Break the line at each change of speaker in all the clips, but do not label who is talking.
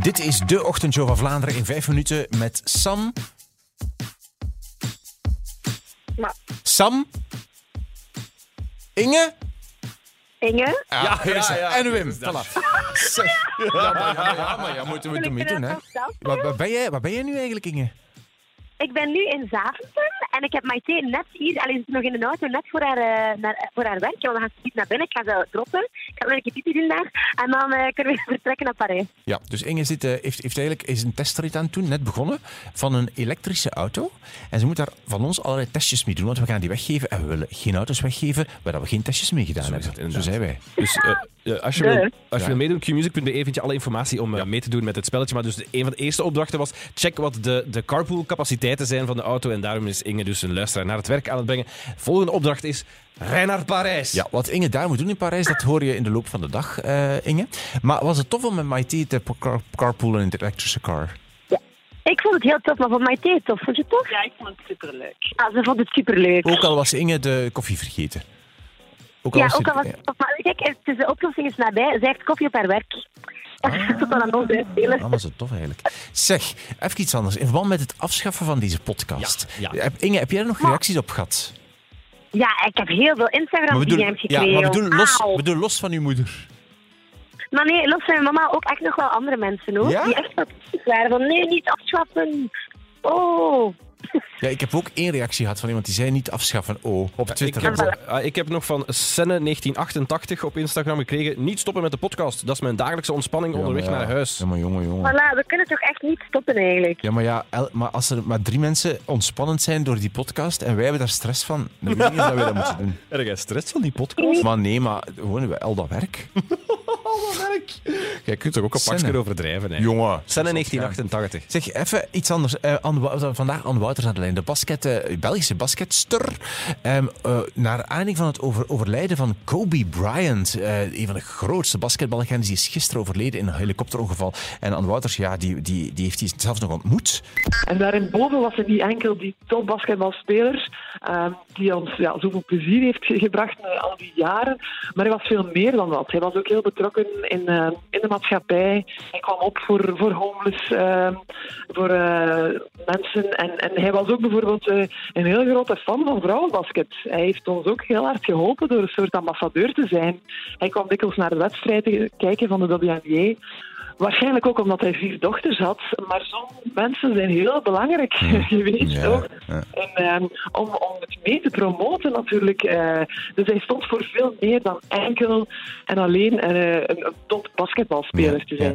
Dit is de Ochtendshow van Vlaanderen in vijf minuten met Sam.
Maar
Sam? Inge?
Inge,
Ja,
ja,
is-
ja.
En Wim. Voilà. Zeg, Ja, maar, ja, maar, ja, maar ja, moeten we het
Wil ik nou
mee
er
doen, hè?
even zelf voor
Waar, waar ben jij, waar ben jij nu eigenlijk, Inge?
ik ben nu in Zaventem en ik heb Maite net hier, alleen ze is nog in de auto, net voor haar, eh, naar, voor haar werk. Want we gaan niet naar binnen, ik ga ze droppen. Ik ga nog een keer pipi doen daar en dan eh, kunnen we vertrekken naar Parijs.
Ja, dus Inge zit, eh, heeft, heeft eigenlijk, is een testrit aan het doen, net begonnen, van een elektrische auto. En ze moet daar van ons allerlei testjes mee doen, want we gaan die weggeven. En we willen geen auto's weggeven waar we geen testjes mee gedaan
is het
hebben. Zo
inderdaad.
zijn wij.
Dus eh, eh, als je,
Duh.
wil, als je
Ja.
wil meedoen, qmusic.be E vind je alle informatie om eh, mee te doen met het spelletje. Maar dus de- een van de eerste opdrachten was, check wat de, de carpool-capaciteiten zijn van de auto. En daarom is Inge dus een luisteraar naar het werk aan het brengen. Volgende opdracht is, rij naar Parijs.
Ja, wat Inge daar moet doen in Parijs, dat hoor je in de loop van de dag, eh, Inge. Maar was het tof om met Maite te car- carpoolen in de elektrische car?
Ik vond het heel tof, maar voor Maite is het tof, vond je het tof?
Ja, ik vond het superleuk.
Ah, ze vond het superleuk.
Ook al was Inge de koffie vergeten. Ook
ja,
was
ook
het-
al was het tof. Maar kijk, het is- de oplossing is nabij. Zij heeft koffie op haar werk. Tot dan aan ons uitdelen.
Ah, was het tof eigenlijk. Zeg, even iets anders. In verband met het afschaffen van deze podcast.
Ja, ja.
Heb- Inge, heb jij er nog reacties op gehad?
Ja, ik heb heel veel Instagram DM's
ja,
gekregen.
maar we doen, los,
Auw.
we doen los van uw moeder.
Maar nee, los van mijn mama ook echt nog wel andere mensen hoor.
Ja?
Die echt wat kritisch waren van nee, niet afschaffen. Oh.
Ja, ik heb ook één reactie gehad van iemand die zei niet afschaffen. Oh, op
Ik
Twitter.
heb, eh, ik heb nog van Senne1988 op Instagram gekregen. Niet stoppen met de podcast. Dat is mijn dagelijkse ontspanning onderweg naar huis.
Ja, maar jongen, jongen.
Voilà, we kunnen toch echt niet stoppen eigenlijk.
Ja, maar, ja, el- maar als er maar drie mensen ontspannend zijn door die podcast en wij hebben daar stress van, dan weet ik niet dat wij dat moeten doen.
Erg jij stress van die podcast?
Maar nee, maar gewoon wel al dat werk.
Jij kunt toch ook een pakje
Senne.
overdrijven, hè?
Jongen.
Senne1988.
Zeg, even iets anders. Eh, Anne Wou- eh, vandaag Anne Wouters aan de lijn, de basket, eh, Belgische basketster. Ehm, eh, naar aanleiding van het over, overlijden van Kobe Bryant, eh, een van de grootste basketballegends, die is gisteren overleden in een helikopterongeval. En Anne Wouters, ja, die, die, die heeft die zelfs nog ontmoet.
En daarboven was het niet enkel die topbasketbalspeler ehm die ons ja, zoveel plezier heeft ge- gebracht eh, al die jaren. Maar hij was veel meer dan dat. Hij was ook heel betrokken in, ehm, in de maatschappij. Hij kwam op voor, voor homeless, ehm, voor eh, mensen. En, en hij was ook bijvoorbeeld eh, een heel grote fan van vrouwenbasket. Hij heeft ons ook heel hard geholpen door een soort ambassadeur te zijn. Hij kwam dikwijls naar de wedstrijden eh, kijken van de WNBA. Waarschijnlijk ook omdat hij vier dochters had. Maar sommige mensen zijn heel belangrijk
Hm.
geweest ook. En, ehm, om, om het mee te promoten natuurlijk. eh. dus hij stond voor veel meer dan enkel en alleen eh, een, een top basketbalspeler
Ja,
te zijn.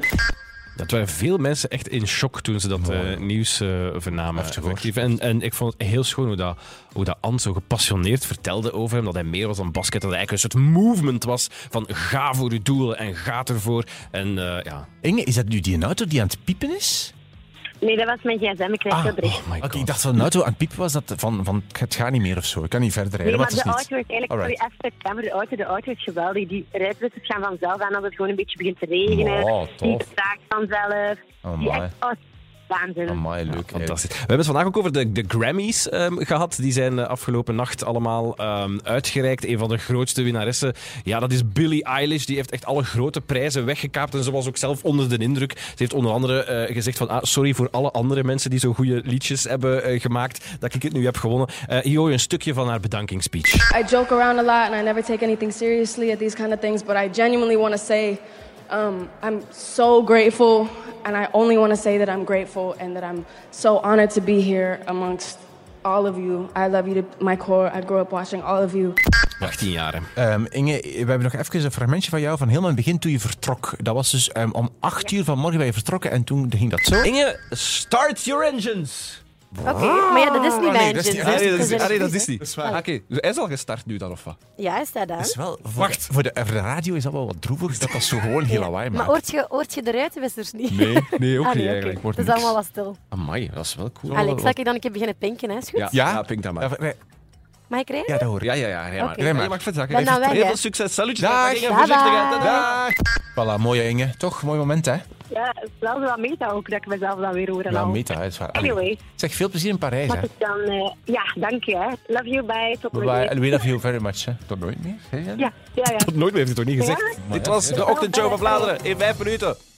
Dat waren veel mensen echt in shock toen ze dat eh, nieuws eh, vernamen.
Heftig, hoor.
Effectief. En, en ik vond het heel schoon hoe dat, hoe dat Ant zo gepassioneerd vertelde over hem. Dat hij meer was dan basket. Dat hij eigenlijk een soort movement was van ga voor je doelen en ga ervoor. En eh, ja.
Inge, is dat nu die auto die aan het piepen is?
Nee, dat was mijn gsm. Ik
Ah,
krijg veel bericht.
Oh my
Oké,
god.
ik dacht dat een auto nou, aan het piepen was, dat van, van het gaat niet meer of zo. Ik kan niet verder rijden,
Nee, maar
maar,
de
het is niet.
auto is eigenlijk,
Alright.
sorry, even kamer, de auto, de auto is geweldig. Die rijtwissers gaan vanzelf aan als het gewoon een beetje begint te regenen.
Wow,
die
tof.
vertraagt vanzelf. die
Amai.
echt, oh, waanzin.
Amai, leuk.
Fantastisch. We hebben het vandaag ook over de, de Grammys ehm, gehad. Die zijn eh, afgelopen nacht allemaal ehm, uitgereikt. Een van de grootste winnaressen, ja, dat is Billie Eilish. Die heeft echt alle grote prijzen weggekaapt. En ze was ook zelf onder de indruk. Ze heeft onder andere eh, gezegd van, ah, sorry voor alle andere mensen die zo goede liedjes hebben eh, gemaakt, dat ik het nu heb gewonnen. Eh, hier hoor je een stukje van haar bedankingsspeech.
I joke around a lot and I never take anything seriously at these kind of things, but I genuinely want to say um, I'm so grateful, and I only want to say that I'm grateful and that I'm so honored to be here amongst all of you. I love you to my core. I grew up watching all of you.
18 jaar. hè.
Ehm, Inge, we hebben nog even een fragmentje van jou van helemaal in het begin toen je vertrok. Dat was dus ehm, om 8 uur vanmorgen ben je vertrokken en toen ging dat zo.
Inge, start your engines!
Oké, maar ja, dat is niet mijn
dat is niet-
gin.
ah, nee,
Dus
ah, nee,
dat
niet. Oké, hij is al gestart nu dan, of wat?
Ja, is dat aan?
Dat is wel, voor Wacht. De, voor, de, voor de radio is dat wel wat droevig dat dat zo gewoon heel lawaai
Maar
maakt.
hoort je, hoort je de ruitenwissers niet?
Nee, nee, ook
Ah,
niet
oké.
eigenlijk.
Wordt
Het is
niks.
allemaal wat stil.
Amai, dat is wel cool.
Alex, zal ik dan een keer beginnen pinken, hè? Is goed?
Ja,
Ja?
ja? pink dat maar.
Ja, nee,
Mag ik rijden?
ja, dat hoor ik.
Ja, ja, ja. Rij maar.
Oké.
Rij
maar.
Je mag verder zakken.
Ben dan weg,
Heel
hè.
veel succes. Salutjes.
Ah, Dag.
Dag. En voorzichtig. hè. Dag.
Dag. Voilà, mooie Inge. Toch, mooi moment hè?
Ja, het is wel zo wat meta ook, dat ik mezelf dan weer hoor en
Ja,
al.
meta, hè, is waar. Allee.
Anyway.
Zeg, veel plezier in Parijs hè.
Mag ik dan... eh, ja, dank je. Hè. Love you, bye. Tot
Bye
morgen.
bye. We love you very much hè. Tot nooit meer.
Ja, ja, ja.
Nooit meer heeft hij toch niet gezegd.
Ja.
Dit was de ochtendshow van Vlaanderen in vijf minuten.